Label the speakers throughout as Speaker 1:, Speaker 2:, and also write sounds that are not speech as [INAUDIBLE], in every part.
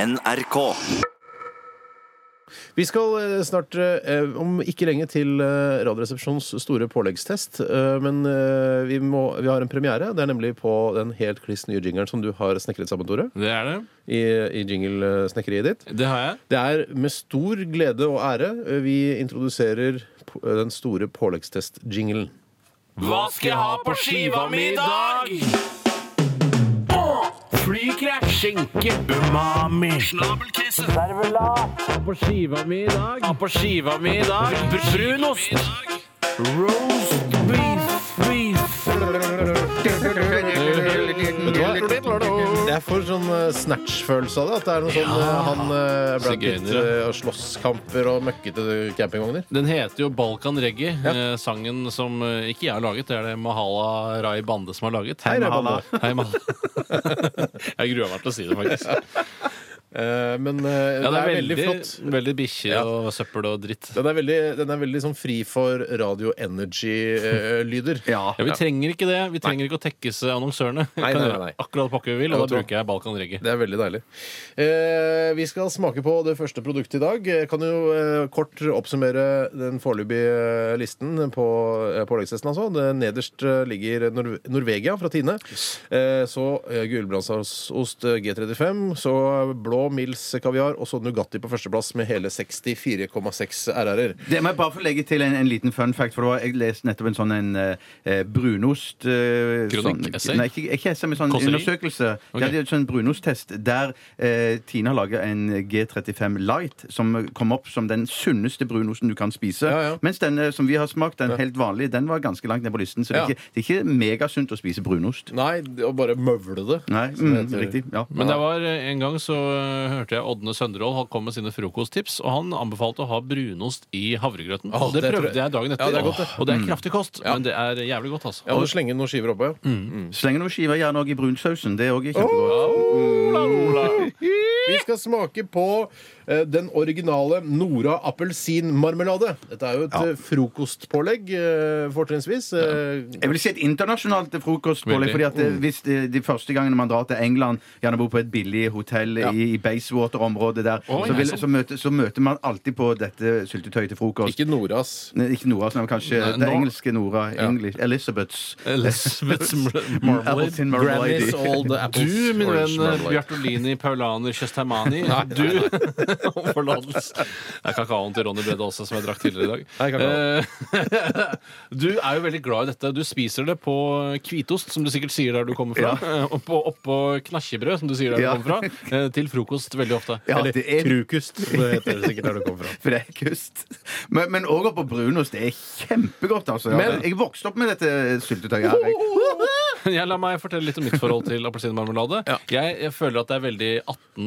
Speaker 1: NRK.
Speaker 2: Vi skal eh, snart, eh, om ikke lenge, til eh, Radioresepsjons store påleggstest. eh, Men eh, vi, må, vi har en premiere. Det er nemlig på den helt kliss nye jingeren som du har snekret sammen, Tore.
Speaker 3: Det er det.
Speaker 2: I, i jinglesnekkeriet ditt.
Speaker 3: Det har jeg.
Speaker 2: Det er med stor glede og ære eh, vi introduserer p- eh, den store påleggstest-jinglen.
Speaker 3: Hva skal jeg ha på skiva mi i dag? Flykrek, skinke, umami, snabelkisse, servelat. Ha på skiva mi i dag. Ha på skiva mi i dag. Brunost. Roast beef.
Speaker 2: Jeg får sånn eh, snatch-følelse av det. At det er noe sånn eh, han eh, Brad Pitt
Speaker 3: Sigøynere.
Speaker 2: eh, og slåsskamper og møkkete campingvogner.
Speaker 3: Den heter jo Balkan Reggae, eh, sangen som eh, ikke jeg har laget. Det er det Mahala Rai Bande som har laget.
Speaker 2: Hei, Rai Bande.
Speaker 3: [LAUGHS] Hei,
Speaker 2: [LAUGHS]
Speaker 3: Mahala. jeg gruer meg til å si det, faktisk.
Speaker 2: Eh, Men eh,
Speaker 3: Ja,
Speaker 2: det er veldig flott.
Speaker 3: Veldig bikkje og søppel og dritt.
Speaker 2: Den er veldig, den er veldig sånn fri for radio eh, [LAUGHS] energy-lyder.
Speaker 3: Ja, Vi trenger ikke det. Vi trenger ikke å tekkes annonsørene. Vi
Speaker 2: Nei,
Speaker 3: kan
Speaker 2: nei,
Speaker 3: gjøre
Speaker 2: nei.
Speaker 3: Akkurat pakke vi vil,
Speaker 2: Ja,
Speaker 3: og
Speaker 2: vet
Speaker 3: da
Speaker 2: du hva?
Speaker 3: bruker jeg Balkan Reggae.
Speaker 2: Det er veldig deilig. Eh, vi skal smake på det første produktet i dag. Jeg kan jo eh, kort oppsummere den foreløpige eh, listen på eh, påleggstesten. Altså. Det nederst eh, ligger Nor Norvegia fra Tine. Eh, så eh, gulbrandsaost eh, G35. Så blå Mills kaviar, og så Nugatti på førsteplass med hele 64,6 RR-er.
Speaker 4: Det må jeg bare få legge til en, en liten fun fact. For det var, jeg leste nettopp en sånn en, eh, brunost eh,
Speaker 3: Kronikk, essay?
Speaker 4: Nei, ikke, ikke essay, men sånn
Speaker 3: Kåseri?
Speaker 4: undersøkelse.
Speaker 3: Ok.
Speaker 4: Ja, det er en sånn brunosttest der eh, Tine har laga en G35 Light som kom opp som den sunneste brunosten du kan spise.
Speaker 2: Ja, ja.
Speaker 4: Mens den eh, som vi har smakt, den helt vanlige, den var ganske langt ned på listen. Så det
Speaker 2: Ja.
Speaker 4: er ikke, det er ikke megasunt å spise brunost.
Speaker 2: Nei, å bare møvle det. eh,
Speaker 4: Nei,
Speaker 2: som
Speaker 4: mm,
Speaker 2: det heter.
Speaker 4: riktig. Ja.
Speaker 3: Men det var eh, en gang så eh, hørte jeg Ådne Sønderål han kom med sine frokosttips, og han anbefalte å ha brunost i havregrøten.
Speaker 2: Åh,
Speaker 3: og det
Speaker 2: det tror
Speaker 3: prøvde
Speaker 2: jeg-
Speaker 3: jeg dagen
Speaker 2: Ja,
Speaker 3: etter.
Speaker 2: det er godt, det. Mm.
Speaker 3: Åh, Og det er kraftig kost, men det er jævlig godt, altså.
Speaker 2: Ja, må du slenge noen skiver oppå, ja.
Speaker 4: Sleng noen skiver gjerne òg i brunsausen. Det er òg kjempegodt.
Speaker 2: Vi skal smake på eh, den originale Nora appelsinmarmelade. Dette er jo et
Speaker 4: Ja.
Speaker 2: eh, frokostpålegg, eh, fortrinnsvis. Eh,
Speaker 4: Jeg vil si et internasjonalt frokostpålegg.
Speaker 3: Veldig.
Speaker 4: fordi at eh, hvis de, de første gangene man drar til England, gjerne bor på et billig hotell i, i Bayswater-området der,
Speaker 3: Å,
Speaker 4: så,
Speaker 3: ja,
Speaker 4: vil,
Speaker 3: sånn.
Speaker 4: så, møter, så møter man alltid på dette syltetøyet til frokost.
Speaker 2: Ikke Noras.
Speaker 4: Nei, Ikke Nora, men kanskje
Speaker 3: Nei,
Speaker 4: det
Speaker 3: nå-
Speaker 4: engelske Nora. English, Elizabeths. [LAUGHS]
Speaker 3: Elizabeth's
Speaker 4: Mm,
Speaker 3: Mm,
Speaker 4: Appleton
Speaker 3: Marmalade.
Speaker 4: Marmalade.
Speaker 2: Granny's Old Apples.
Speaker 3: Du, min
Speaker 2: Orange
Speaker 3: venn eh,
Speaker 2: Marmalade.
Speaker 3: Bjartolini Paulaner
Speaker 4: [LAUGHS]
Speaker 3: Kjøstheimani. Du [LAUGHS] Om Forlatelse. Det er kakaoen til Ronny Brede Aase som jeg drakk tidligere i
Speaker 2: Hei,
Speaker 3: dag. Eh, [LAUGHS] du er jo veldig glad i dette. Du spiser det på hvitost, som du sikkert sier der du kommer fra. eh, Og [LAUGHS] på, oppå knakkebrød, som du sier der
Speaker 4: Ja.
Speaker 3: du kommer fra. eh, Til frokost veldig ofte.
Speaker 4: Ja,
Speaker 2: Eller
Speaker 4: det er
Speaker 2: krukust, som det heter sikkert der det kommer fra.
Speaker 4: for det er kust. Men, men også på brunost. Det er kjempegodt, altså. Ja,
Speaker 2: Men-
Speaker 4: jeg vokste opp med dette syltetøyet. her jeg.
Speaker 3: [LAUGHS] Jeg la meg fortelle litt om mitt forhold til appelsinmarmelade.
Speaker 2: Ja.
Speaker 3: Jeg, jeg føler at det er veldig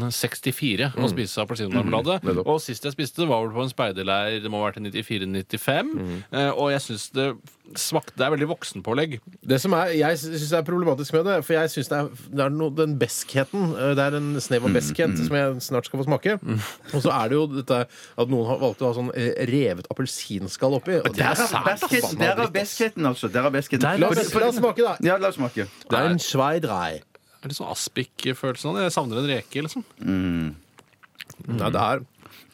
Speaker 3: 1864 å spise appelsinmarmelade.
Speaker 2: nettopp.
Speaker 3: Og sist jeg spiste, det var vel på en speiderleir. Det må ha vært i 94-95. Eh, og jeg syns det smakte Det er veldig voksenpålegg.
Speaker 2: [LAUGHS] Det som er, jeg syns det er problematisk med det, for jeg syns det er, det er noe, den beskheten eh, Det er en snev av beskhet som jeg snart skal få smake. Og så er det jo dette at noen har valgt å ha sånn eh, revet appelsinskall oppi. Og det
Speaker 4: Der
Speaker 2: er
Speaker 4: er
Speaker 2: sært
Speaker 4: basket-
Speaker 2: forbanna
Speaker 4: der er
Speaker 2: dritt.
Speaker 4: baskheten, altså. Der er baskheten.
Speaker 3: Der er
Speaker 2: La oss la oss smake, da.
Speaker 4: Ja, la oss smake.
Speaker 2: Det er en svei drei.
Speaker 3: Det er Litt sånn aspik-følelsen av det. Jeg savner en reke, liksom.
Speaker 2: Nei, det er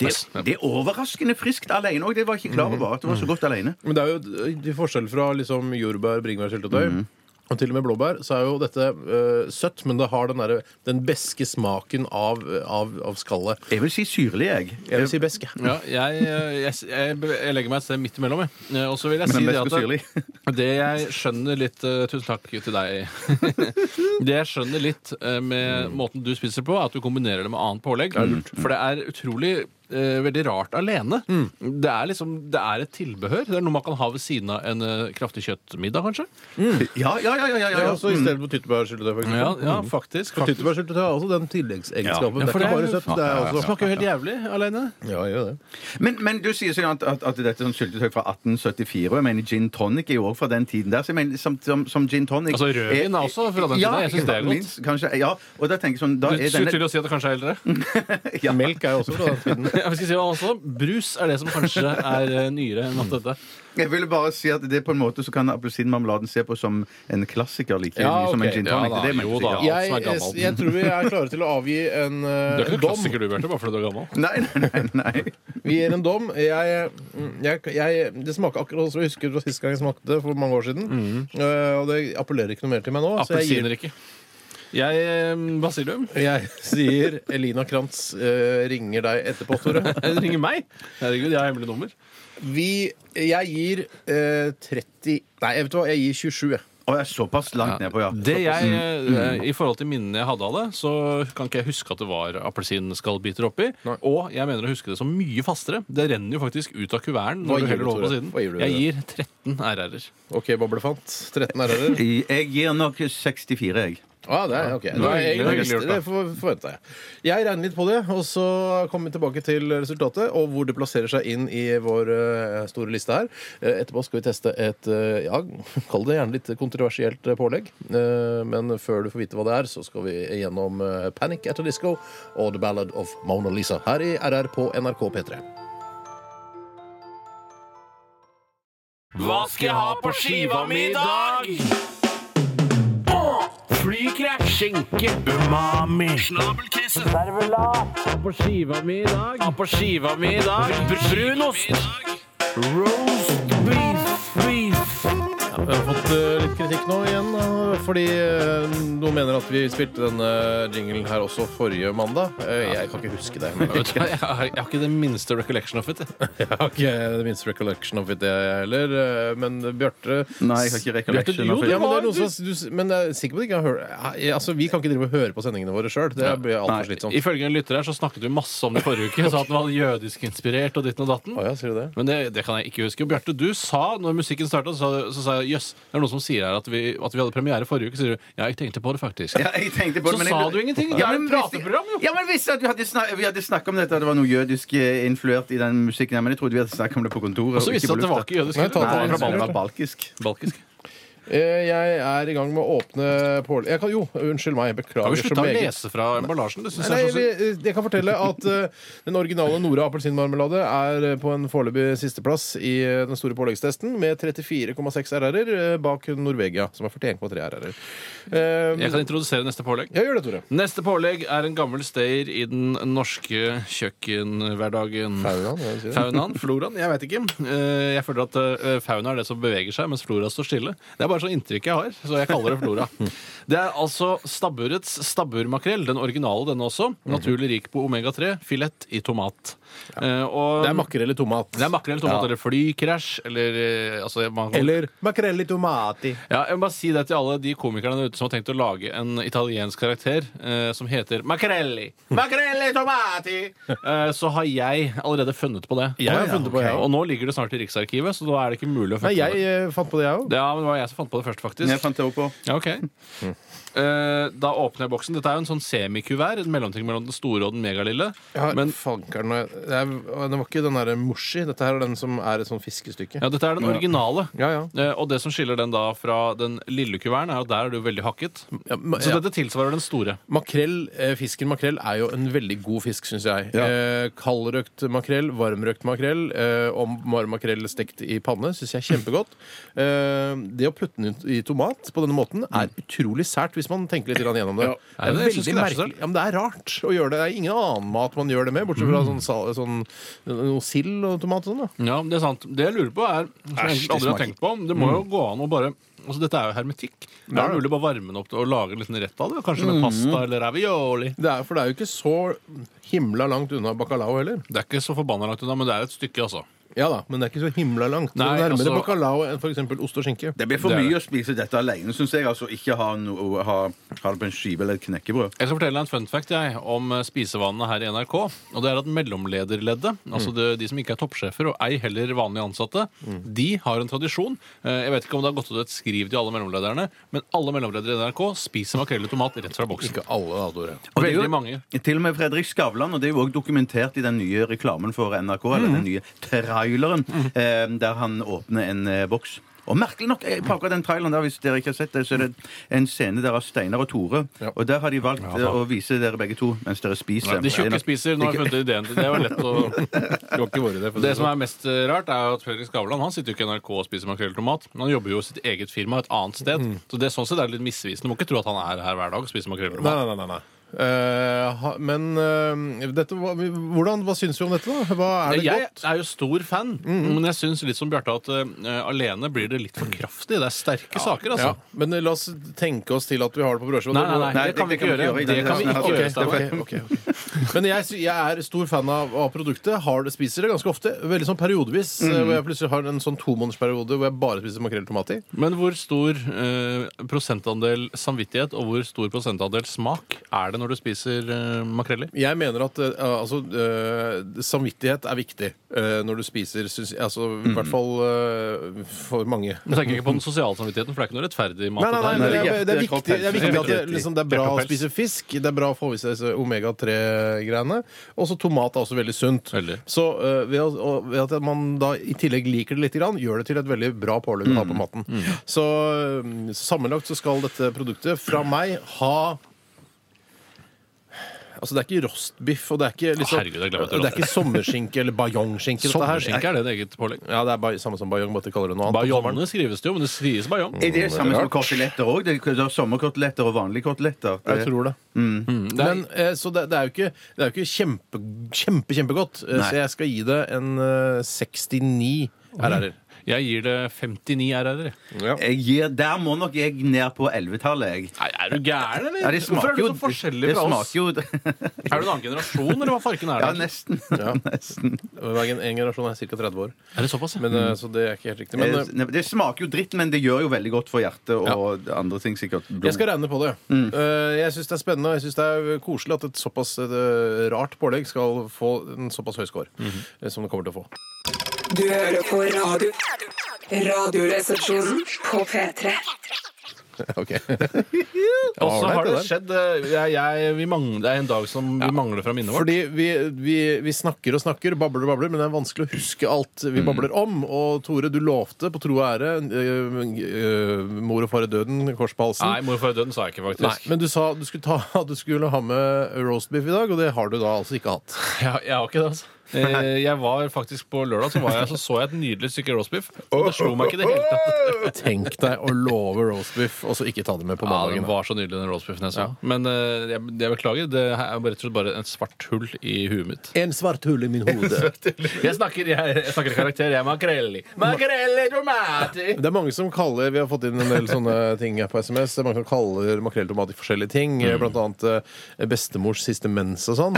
Speaker 4: Det, det er overraskende friskt alene òg. Det var jeg ikke klar over at det var så godt alene.
Speaker 2: Men det er jo d- til forskjell fra liksom jordbær, bringebær, syltetøy.
Speaker 3: Mm.
Speaker 2: Og til og med blåbær. Så er jo dette eh, søtt, men det har den, derre- den beske smaken av, av, av skallet.
Speaker 4: Jeg vil si syrlig, jeg.
Speaker 2: Jeg vil si beske.
Speaker 3: Ja, jeg, eh, jeg, jeg, jeg legger meg et sted midt imellom, jeg. Eh, Og så vil jeg
Speaker 4: Men
Speaker 3: si
Speaker 4: den
Speaker 3: det
Speaker 4: beste
Speaker 3: at
Speaker 4: syrlig.
Speaker 3: Det jeg skjønner litt eh, Tusen takk til deg. [LAUGHS] det jeg skjønner litt eh,
Speaker 2: Mm.
Speaker 3: med måten du spiser på, er at du kombinerer det med annet pålegg. For det er utrolig eh, veldig rart alene.
Speaker 2: Mm.
Speaker 3: Det, er liksom, det er et tilbehør. Det er noe man kan ha ved siden av en eh, kraftig kjøttmiddag, kanskje. Mm.
Speaker 4: [LAUGHS] Ja, ja, ja. ja, ja, ja.
Speaker 2: Ja, så I stedet for tyttebærsyltetøy, for
Speaker 3: Ja,
Speaker 2: eksempel. Mm.
Speaker 3: ja faktisk.
Speaker 2: For
Speaker 3: faktisk.
Speaker 2: tyttebærsyltetøy har også den tilleggsegenskapen.
Speaker 3: Ja,
Speaker 2: det
Speaker 3: for
Speaker 2: er ikke bare
Speaker 3: det er-
Speaker 2: søtt. Det er
Speaker 3: Det
Speaker 2: også
Speaker 3: smaker jo helt jævlig alene.
Speaker 2: Ja, gjør det.
Speaker 4: Men, men du sier sånn at, at, at dette er sånn syltetøy fra 1874. og Jeg mener Gin tonic er jo også fra den tiden der. Så jeg mener, som, som, som gin tonic
Speaker 3: Altså, rødvin er også fra den
Speaker 4: ja,
Speaker 3: tiden. Jeg synes det er godt.
Speaker 4: Minst, kanskje, ja, og da tenker jeg sånn da
Speaker 3: Du
Speaker 4: er
Speaker 3: skulle
Speaker 4: denne,
Speaker 2: Mm.
Speaker 3: til å si at det kanskje er eldre.
Speaker 4: ja.
Speaker 2: Melk er jo også fra den tiden.
Speaker 3: [LAUGHS] Jeg skal si hva også, Brus er det som kanskje er eh, nyere enn alt dette.
Speaker 4: Jeg ville bare si at det på en måte så kan appelsinmarmeladen se på som en klassiker. Like,
Speaker 2: Ja,
Speaker 4: mye som en
Speaker 2: ok.
Speaker 4: gin
Speaker 3: Ja
Speaker 4: tonic.
Speaker 3: da,
Speaker 4: det mente
Speaker 3: jo
Speaker 4: jeg
Speaker 3: da. alt som er
Speaker 4: ikke.
Speaker 2: Jeg, jeg,
Speaker 3: gammelt.
Speaker 2: jeg tror vi er klare til å avgi en
Speaker 3: Du
Speaker 2: eh,
Speaker 3: er ikke noen
Speaker 2: dom.
Speaker 3: klassiker, du, Bjarte, bare fordi du er gammel.
Speaker 4: Nei, nei, nei. nei.
Speaker 2: Vi gir en dom. Jeg, jeg, jeg, det smaker akkurat som jeg husker fra sist gang jeg smakte det, for mange år siden. Eh, og det appellerer ikke noe mer til meg nå. Så jeg, gir,
Speaker 3: Appelsiner ikke. Jeg eh, Basilium.
Speaker 2: jeg sier Elina Krantz eh, ringer deg etterpå, Tore.
Speaker 3: Eh, Du ringer meg? Herregud, jeg har hemmelig nummer.
Speaker 2: Vi, jeg gir eh, 30 Nei, jeg vet du hva, jeg gir 27. jeg.
Speaker 4: Å, jeg er såpass langt nedpå, ja.
Speaker 3: Det jeg, eh, I forhold til minnene jeg hadde av det, så kan ikke jeg huske at det var appelsinskallbiter oppi.
Speaker 2: Nei.
Speaker 3: Og jeg mener å huske det som mye fastere. Det renner jo faktisk ut av kuverten
Speaker 2: Hva
Speaker 3: når
Speaker 2: gir du,
Speaker 3: du heller det over på
Speaker 2: Tore?
Speaker 3: siden.
Speaker 2: Hva gir du?
Speaker 3: Jeg gir 13 RR-er.
Speaker 2: OK, boblefant. 13 RR-er.
Speaker 4: Jeg gir nok 64, jeg.
Speaker 2: Ah, det er, ok.
Speaker 3: det var
Speaker 2: Nei, jeg,
Speaker 3: hyggelig,
Speaker 2: jeg,
Speaker 3: hyggelig
Speaker 2: det
Speaker 3: gjort,
Speaker 2: for- forventet jeg. Jeg regner litt på det, og så kommer vi tilbake til resultatet og hvor det plasserer seg inn i vår eh, store liste her. Eh, etterpå skal vi teste et eh, ja, [LAUGHS] kall det gjerne litt kontroversielt eh, pålegg. Eh, men før du får vite hva det er, så skal vi gjennom eh, Panic at a Disco og The Ballad of Mona Lisa her i RR på NRK P3.
Speaker 1: Hva skal jeg ha på skiva mi i dag? Flykrekk, skinke, umami Snabelkrise Servelat På skiva mi i dag På skiva mi i dag Brunost Roast beef Beef
Speaker 2: Vi har fått eh, litt kritikk nå igjen, eh, fordi eh, noen mener at vi spilte denne jinglen her også forrige mandag. Eh, jeg kan ikke huske det. Men
Speaker 3: Vet du hva, Jeg har jeg har ikke det minste recollection of it. jeg.
Speaker 2: [LAUGHS] jeg har ikke det minste recollection of it, jeg heller. eh, Men Bjarte
Speaker 4: Nei, jeg har
Speaker 3: Bjarte,
Speaker 4: ikke recollection.
Speaker 3: jo,
Speaker 4: of
Speaker 3: du
Speaker 4: it.
Speaker 2: ja, men, det er
Speaker 3: har-
Speaker 2: noen som, har- du, s- men jeg er sikker på at jeg ikke har hørt Nei, altså, Vi kan ikke drive og høre på sendingene våre sjøl. Det blir
Speaker 4: Nei.
Speaker 2: altfor slitsomt.
Speaker 3: Ifølge en lytter her så snakket vi masse om det forrige uke. Sa at den var jødisk-inspirert og ditten og datten.
Speaker 2: Å ja, sier du det?
Speaker 3: Men det, det kan jeg ikke huske. Og Bjarte, du sa når musikken starta, så, sa- så sa jeg jøss, det er noen som sier her at vi, at vi hadde premiere forrige uke. Så sier du ja, jeg tenkte på det faktisk.
Speaker 4: Ja, jeg tenkte på
Speaker 3: Så
Speaker 4: det, men jeg-
Speaker 3: sa du ingenting. Det er et
Speaker 4: hvis-
Speaker 3: prateprogram, jo.
Speaker 4: Ja, men visste at vi hadde, snak vi hadde snakket om dette, at det var noe jødisk eh, influert i den musikken. her, Men jeg trodde vi hadde snakket om det på kontoret.
Speaker 3: Og så viste det seg at det var ikke jødisk.
Speaker 2: Nei, ta
Speaker 4: Nei,
Speaker 3: det var
Speaker 4: det
Speaker 3: fra
Speaker 4: var
Speaker 3: Balkan.
Speaker 4: balkisk.
Speaker 3: Balkisk.
Speaker 2: Eh, Jeg er i gang med å åpne pål... Jeg kan, jo, unnskyld meg. jeg
Speaker 3: Har
Speaker 2: Beklager
Speaker 3: vi slutta å lese fra emballasjen? Det synes
Speaker 2: Nei,
Speaker 3: jeg
Speaker 2: jeg,
Speaker 3: er så synd.
Speaker 2: vil- jeg kan fortelle at eh, den originale Nora appelsinmarmelade er eh, på en foreløpig sisteplass i eh, den store påleggstesten med 34,6 RR-er eh, bak Norvegia, som har 41,3 RR-er. Eh,
Speaker 3: Jeg kan introdusere neste pålegg.
Speaker 2: ja, gjør det, Tore.
Speaker 3: Neste pålegg er en gammel stayer i den norske kjøkkenhverdagen.
Speaker 2: Faunaen, ja, du sier det.
Speaker 3: Faunaen? Floraen? Jeg veit ikke. Eh, Jeg føler at eh, fauna er det som beveger seg, mens flora står stille. Det er bare sånn inntrykk jeg har, så jeg kaller det
Speaker 2: [LAUGHS]
Speaker 3: flora.
Speaker 2: Mm.
Speaker 3: Det er altså stabburets stabburmakrell, den originale denne også.
Speaker 2: Mm.
Speaker 3: Naturlig rik på omega-3, filett i tomat. Eh, og-
Speaker 2: Det er makrell i tomat.
Speaker 3: det er makrell i tomat, eller flykrasj, eller eh, altså, man,
Speaker 2: Eller makrell i tomati.
Speaker 3: ja, jeg må bare si det til alle de komikerne der ute som har tenkt å lage en italiensk karakter eh, som heter Macarelli. Macarelli tomati! Eh, så har jeg allerede funnet på det.
Speaker 2: Jeg har
Speaker 3: Å, ja,
Speaker 2: funnet på det, ja.
Speaker 3: ok. Og nå ligger det snart i Riksarkivet, så da er det ikke mulig å
Speaker 2: Nei,
Speaker 3: funne
Speaker 2: jeg
Speaker 3: på det.
Speaker 2: eh, fant på det, jeg òg.
Speaker 3: Ja, men det var jeg som fant på det først, faktisk.
Speaker 4: Jeg fant det opp på.
Speaker 3: Ja, ok. Eh, da åpner jeg boksen. Dette er jo en sånn semikuvert. En mellomting mellom den store og den megalille.
Speaker 2: Ja,
Speaker 3: Men
Speaker 2: fankeren, jeg- det er- det var ikke den derre moshi. Dette her er den som er et sånn fiskestykke.
Speaker 3: ja, dette er den originale.
Speaker 2: Ja, ja.
Speaker 3: Eh, og det som skiller den da fra den lille kuverten, er at der er det jo veldig hakket.
Speaker 2: Ja, ma-
Speaker 3: Så
Speaker 2: ja.
Speaker 3: dette tilsvarer den store.
Speaker 2: Makrell, eh, Fisken makrell er jo en veldig god fisk, syns jeg.
Speaker 4: Ja.
Speaker 2: Eh, kaldrøkt makrell, varmrøkt makrell eh, og varm makrell stekt i panne syns jeg er kjempegodt. Eh, det å putte den ut i tomat på denne måten er utrolig sært, hvis man tenker litt grann gjennom det.
Speaker 3: Nei,
Speaker 2: Det
Speaker 3: men
Speaker 2: er
Speaker 3: jeg
Speaker 2: veldig
Speaker 3: synes ikke det er så
Speaker 2: merkelig. Ja, men det er rart å gjøre det. Det er ingen annen mat man gjør det med, bortsett fra sånn, sal- sånn, noe sild og tomat og sånn. da.
Speaker 3: Ja, det er sant. Det jeg lurer på er som jeg
Speaker 2: Æsj,
Speaker 3: egentlig
Speaker 2: det
Speaker 3: aldri har
Speaker 2: smaker- Mm.
Speaker 3: tenkt på, det må jo gå an å bare Altså, Dette er jo hermetikk. Det er mulig å bare varme den opp og lage en liten rett av det. Kanskje med
Speaker 2: Mm.
Speaker 3: pasta eller ravioli.
Speaker 2: Det er, for det er jo ikke så himla langt unna bacalao heller.
Speaker 3: Det er ikke så forbanna langt unna, men det er et stykke, altså.
Speaker 2: Ja da, men det er ikke så himla langt.
Speaker 3: Nei,
Speaker 2: det er nærmere
Speaker 3: altså-
Speaker 2: bacalao enn f.eks. ost og skinke.
Speaker 4: Det blir for
Speaker 3: Det er
Speaker 4: mye å spise dette alene, syns jeg. Altså ikke ha, no, ha, ha det på en skive eller et knekkebrød.
Speaker 3: Jeg skal fortelle deg en fun fact jeg, om eh, spisevanene her i NRK. Og det er at mellomlederleddet,
Speaker 2: Mm.
Speaker 3: altså det, de som ikke er toppsjefer og ei heller vanlige ansatte,
Speaker 2: Mm.
Speaker 3: de har en tradisjon. Eh, Jeg vet ikke om det har gått ut et skriv til alle mellomlederne, men alle mellomledere i NRK spiser makrell i tomat rett fra boksen.
Speaker 2: Ikke alle, da, Tore.
Speaker 4: Og det er jo-
Speaker 3: Veldig mange.
Speaker 4: Til og med Fredrik Skavlan, og det er jo også dokumentert i den
Speaker 3: Mhm.
Speaker 4: nye reklamen for NRK, eller den nye traileren, eh, der han åpner en eh, boks. Og merkelig nok, eh, på akkurat den traileren der, hvis dere ikke har sett det, så er det en scene der av Steinar og Tore.
Speaker 2: Ja.
Speaker 4: Og der har de valgt eh,
Speaker 3: da.
Speaker 4: å vise dere begge to mens dere spiser.
Speaker 3: De tjukke spiser. Nå har jeg funnet ideen til det. Det var lett [LAUGHS] å
Speaker 2: Det var ikke våre, det. for å si
Speaker 3: Det
Speaker 2: det
Speaker 3: som
Speaker 2: sånn.
Speaker 3: er mest eh, rart, er jo at Fredrik Skavlan han sitter jo ikke i NRK og spiser makrell i tomat. Men han jobber jo i sitt eget firma et annet sted. Så det er sånn sett er det litt misvisende. Du må ikke tro at han er her hver dag og spiser makrell i
Speaker 2: Nei,
Speaker 3: tomat.
Speaker 2: nei, nei. nei. sånn. Eh, ha, men eh, dette, hva, hvordan, hva syns vi om dette, da? Hva er det
Speaker 3: Jeg
Speaker 2: godt?
Speaker 3: er Mm. jo stor fan, men jeg syns litt som Bjarte at eh, alene blir det litt for kraftig. Det er sterke saker, altså.
Speaker 2: Ja, men eh, la oss tenke oss til at vi har det på brødskiva.
Speaker 3: Nei, nei, nei,
Speaker 4: Nei,
Speaker 3: det kan vi ikke gjøre.
Speaker 4: i
Speaker 3: Det
Speaker 4: denne
Speaker 3: kan vi
Speaker 4: testen her.
Speaker 3: ikke gjøre,
Speaker 4: Ok,
Speaker 2: Det er
Speaker 3: Steinar.
Speaker 2: feil. Men jeg, sy- jeg er stor fan av, av produktet. Har det, spiser det ganske ofte. Veldig sånn periodevis.
Speaker 3: Mm.
Speaker 2: eh, Hvor jeg plutselig har en sånn tomånedersperiode hvor jeg bare spiser makrell og tomat i.
Speaker 3: Men hvor stor eh, prosentandel samvittighet og hvor stor prosentandel smak er det når du spiser eh, makrell i?
Speaker 2: Jeg mener at eh, altså, eh, samvittighet er viktig eh, når du spiser, syns jeg. Altså,
Speaker 3: Mm.
Speaker 2: I hvert fall eh, for mange.
Speaker 3: Du tenker ikke på den sosiale samvittigheten, for det er ikke noe rettferdig mat.
Speaker 2: Nei, nei, nei,
Speaker 3: dette
Speaker 2: men
Speaker 3: her.
Speaker 2: det, er,
Speaker 4: Nei,
Speaker 2: det, er
Speaker 4: hjerte,
Speaker 2: viktig, det er viktig at det,
Speaker 4: kropp,
Speaker 2: liksom, det er bra å
Speaker 3: Hjerte og pels.
Speaker 2: spise fisk. Det er bra å få i seg disse omega-3-greiene. Og så tomat er også veldig sunt.
Speaker 3: Veldig.
Speaker 2: Så eh, ved, å- og ved at man da i tillegg liker det lite grann, gjør det til et veldig bra pålegg å ha
Speaker 3: Mm.
Speaker 2: på maten. Så eh, sammenlagt så skal dette produktet fra meg ha Altså, det er ikke rostbiff, og det er ikke, liksom,
Speaker 3: Herregud, jeg glemmer at det er
Speaker 2: det er ikke sommerskinke eller bajongskinke. dette her.
Speaker 3: Sommerskinke er det et eget pålegg.
Speaker 2: Ja, det er ba- samme som bajong, bare at de kaller det noe annet.
Speaker 3: Bajongene skrives det jo, men det skrives bajong.
Speaker 4: Er det samme som koteletter òg? Det er sommerkoteletter og vanlige koteletter. Det-
Speaker 2: Jeg tror det. Men, eh, så det, det er jo ikke, det er jo ikke kjempe, kjempe, kjempegodt. Eh,
Speaker 4: Nei.
Speaker 2: Så jeg skal gi det en eh, 69 RR-er.
Speaker 3: Jeg gir det 59 RR-er.
Speaker 4: Jeg gir, der må nok jeg ned på 11-tallet, jeg.
Speaker 3: Nei, er du gæren, eller?
Speaker 4: Ja, det
Speaker 3: Hvorfor
Speaker 4: smaker
Speaker 3: er du
Speaker 4: jo
Speaker 3: så forskjellig
Speaker 4: det
Speaker 3: fra oss?
Speaker 4: smaker jo [LAUGHS]
Speaker 3: Er du en annen generasjon, eller hva farken er
Speaker 4: Ja,
Speaker 3: det?
Speaker 4: nesten.
Speaker 2: Ja.
Speaker 4: [LAUGHS] nesten.
Speaker 2: Hver en, en generasjon er ca. 30 år.
Speaker 3: er det såpass? ja?
Speaker 2: Men, eh, Så det er ikke helt riktig. Men eh,
Speaker 4: Eh, det smaker jo dritt, men det gjør jo veldig godt for hjertet og andre ting sikkert.
Speaker 2: jeg skal regne på det. Eh, Jeg syns det er spennende og jeg synes det er koselig at et såpass eh, rart pålegg skal få en såpass høy score eh, som det kommer til å få.
Speaker 5: Du hører på radio. Radioresepsjonen på P3.
Speaker 3: Og så
Speaker 2: Ja,
Speaker 3: har
Speaker 2: det er
Speaker 3: det skjedd eh, jeg, jeg, vi mangler, Det er en dag som vi mangler fra minnet vårt.
Speaker 2: Fordi vi, vi, vi snakker og snakker, babler og babler, men det er vanskelig å huske alt vi
Speaker 3: Mm.
Speaker 2: babler om. Og Tore, du lovte på tro og ære øh, øh, mor og far i døden, kors på halsen.
Speaker 3: Nei, mor før døden sa jeg ikke,
Speaker 2: Nei,
Speaker 3: [LAUGHS] faktisk.
Speaker 2: men du sa du skulle, ta, [LAUGHS] at du skulle ha med roastbiff i dag, og det har du da altså ikke hatt.
Speaker 3: [LAUGHS] Jeg, jeg har ikke det, altså. Eh, Jeg var faktisk På lørdag så, var jeg, så så jeg et nydelig stykke roastbiff, og det slo meg ikke i det hele tatt.
Speaker 2: Tenk deg å love roastbiff, og så ikke ta det med på
Speaker 3: Ja, den
Speaker 2: mandagen.
Speaker 3: var så nydelig, den roastbiffen jeg så. Men eh, jeg, jeg beklager. Det her er bare- rett og slett bare et svart hull i huet mitt.
Speaker 2: En svart hull i min hode.
Speaker 3: [LAUGHS] Jeg snakker, jeg, jeg snakker i karakter. Jeg er makrelli. Makrelli tomati!
Speaker 2: Det er mange som kaller, Vi har fått inn en del sånne [LAUGHS] ting her på SMS. Det er mange som kaller makrell i tomat i forskjellige ting.
Speaker 3: Mm.
Speaker 2: Blant annet eh, bestemors siste mens og sånn.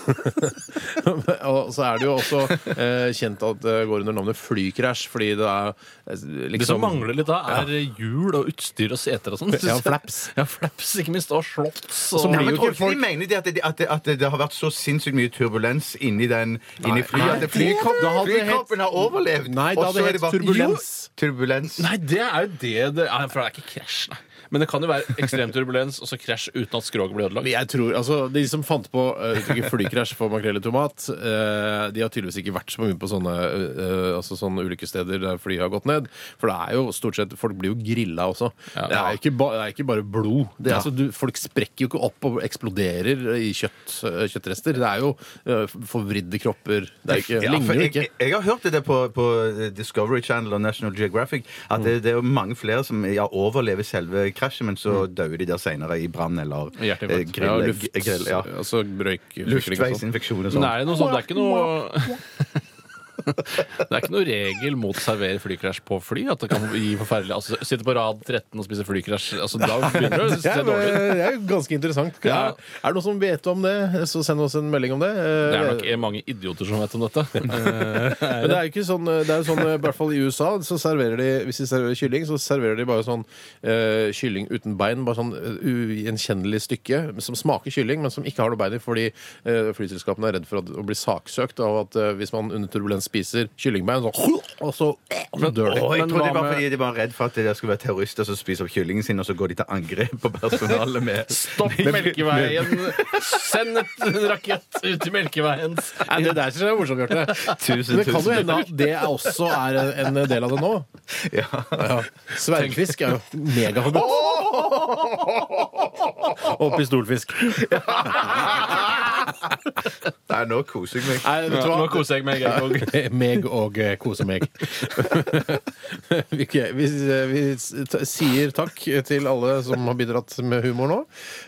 Speaker 2: [LAUGHS] og så er det jo også eh, kjent at det går under navnet flykrasj, fordi det er eh,
Speaker 3: Det som
Speaker 2: liksom
Speaker 3: mangler litt da, er hjul og utstyr og seter og sånn.
Speaker 2: Ja, flaps.
Speaker 3: [LAUGHS] Ja, flaps, ikke minst. Og slotts.
Speaker 2: Så
Speaker 3: Og...
Speaker 2: blir jo
Speaker 4: men tror
Speaker 2: ikke
Speaker 4: ikke de mener de at, det- at, det- at det har vært så sinnssykt mye turbulens inni, den, inni flyet
Speaker 2: nei,
Speaker 4: at det-
Speaker 2: det-
Speaker 4: flykropp-
Speaker 2: da hadde det
Speaker 4: flykroppen har overlevd?
Speaker 2: Nei, da
Speaker 4: og
Speaker 2: hadde
Speaker 4: så
Speaker 2: det
Speaker 4: er
Speaker 2: hett
Speaker 4: bare-
Speaker 2: turbulens.
Speaker 4: Jo, turbulens.
Speaker 3: Nei, det er jo det det er. For det er ikke krasj, nei. Men det kan jo være ekstrem turbulens og så krasj uten at skroget blir ødelagt.
Speaker 2: jeg tror, altså, De som fant på eh, uttrykket 'flykrasj' for makrell i tomat, eh, de har tydeligvis ikke vært så mye på sånne, eh, altså sånne ulykkessteder der flyet har gått ned. For det er jo stort sett Folk blir jo grilla også. Det, er ikke ba, det er ikke bare blod. Det, er altså, du, folk sprekker jo ikke opp og eksploderer i kjøtt, eh, kjøttrester. Det er jo eh, forvridde kropper. Det er ikke,
Speaker 4: Ja,
Speaker 2: ligner
Speaker 4: for
Speaker 2: jo
Speaker 4: jeg,
Speaker 2: ikke.
Speaker 4: jeg, jeg har hørt det der på, på eh, Discovery Channel og National Geographic at
Speaker 2: Mm.
Speaker 4: det, det er jo mange flere som ja, overlever selve krasjet, men så dør de der senere i brann eller eh, grill.
Speaker 3: Hjerteinfarkt.
Speaker 2: Mm. Ja,
Speaker 4: grill
Speaker 2: luft,
Speaker 4: ja.
Speaker 2: Altså røyk
Speaker 4: Luftveisinfeksjon og
Speaker 3: Men
Speaker 4: sånn.
Speaker 3: er det noe sånt? Det er ikke
Speaker 2: [LAUGHS]
Speaker 3: noe det er ikke noe regel mot å servere flykrasj på fly. At det kan gi forferdelig altså, Sitte på rad 13 og spise flykrasj. Altså, da begynner det
Speaker 2: [LAUGHS]
Speaker 3: å
Speaker 2: Ja,
Speaker 3: se
Speaker 2: men
Speaker 3: dårlig ut.
Speaker 2: det er jo ganske interessant.
Speaker 3: Ja.
Speaker 2: Er det noen som vet om det, så send oss en melding om det.
Speaker 3: Det er nok mange idioter som vet om dette.
Speaker 2: [LAUGHS] Men det er jo ikke sånn, det er jo sånn, i hvert fall i USA, så serverer de, hvis de serverer kylling, så serverer de bare sånn eh, kylling uten bein, bare sånn eh, ugjenkjennelig stykke, som smaker kylling, men som ikke har noe bein i, fordi eh, flyselskapene er redd for at, å bli saksøkt av at eh, hvis man under turbulens spiser kyllingbein, så, og så, og så dør de.
Speaker 4: Å, jeg
Speaker 3: Men
Speaker 4: trodde de
Speaker 3: hva
Speaker 4: var,
Speaker 3: med-
Speaker 4: fordi de var redd for at det skulle være terrorister som spiser opp kyllingen sin, og så går de til angrep på personalet med
Speaker 3: [LAUGHS] Stopp Melkeveien! Send et- en rakett ut i Melkeveien!
Speaker 2: Nei, det der synes jeg er morsomt, Bjarte.
Speaker 4: Tusen,
Speaker 2: Men det kan jo
Speaker 4: tusen
Speaker 2: hende at det er også er en en del av det nå.
Speaker 4: Ja.
Speaker 2: Ja. Sverdfisk er jo megaforbudt. [LAUGHS] Og pistolfisk.
Speaker 4: Nei, nå koser jeg meg.
Speaker 2: [LAUGHS] Nei, vet du
Speaker 3: Nå
Speaker 2: hva?
Speaker 3: koser jeg meg. jeg òg.
Speaker 2: Meg og [LAUGHS] eh, kose meg. [LAUGHS] Ok, vi, eh, vi t sier takk til alle som har bidratt med humor nå.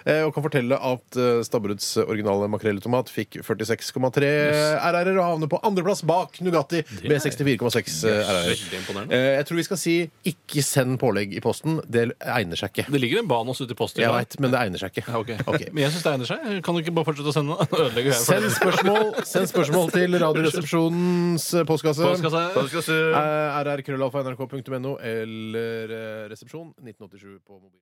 Speaker 2: eh, Og kan fortelle at eh, Stabburuds originale makrelltomat fikk 46,3 RR-er og havner på andreplass bak Nugatti med 64,6 RR-er.
Speaker 3: Veldig imponerende.
Speaker 2: Eh, Jeg tror vi skal si ikke send pålegg i posten. Det egner seg ikke.
Speaker 3: Det ligger en ban også ute i posten.
Speaker 2: Jeg veit, men det egner seg ikke.
Speaker 3: Ja, ok.
Speaker 2: [LAUGHS] Ok.
Speaker 3: Men jeg syns det egner seg. Kan du ikke bare fortsette å sende? Nå Ødelegger jeg for
Speaker 2: Send
Speaker 3: det.
Speaker 2: spørsmål, send spørsmål til Radioresepsjonens postkasse.
Speaker 3: Postkassa.
Speaker 4: Skal vi se.
Speaker 2: Eh, rrkrøllalfa.nrk.no eller eh, resepsjon 1987 på mobil.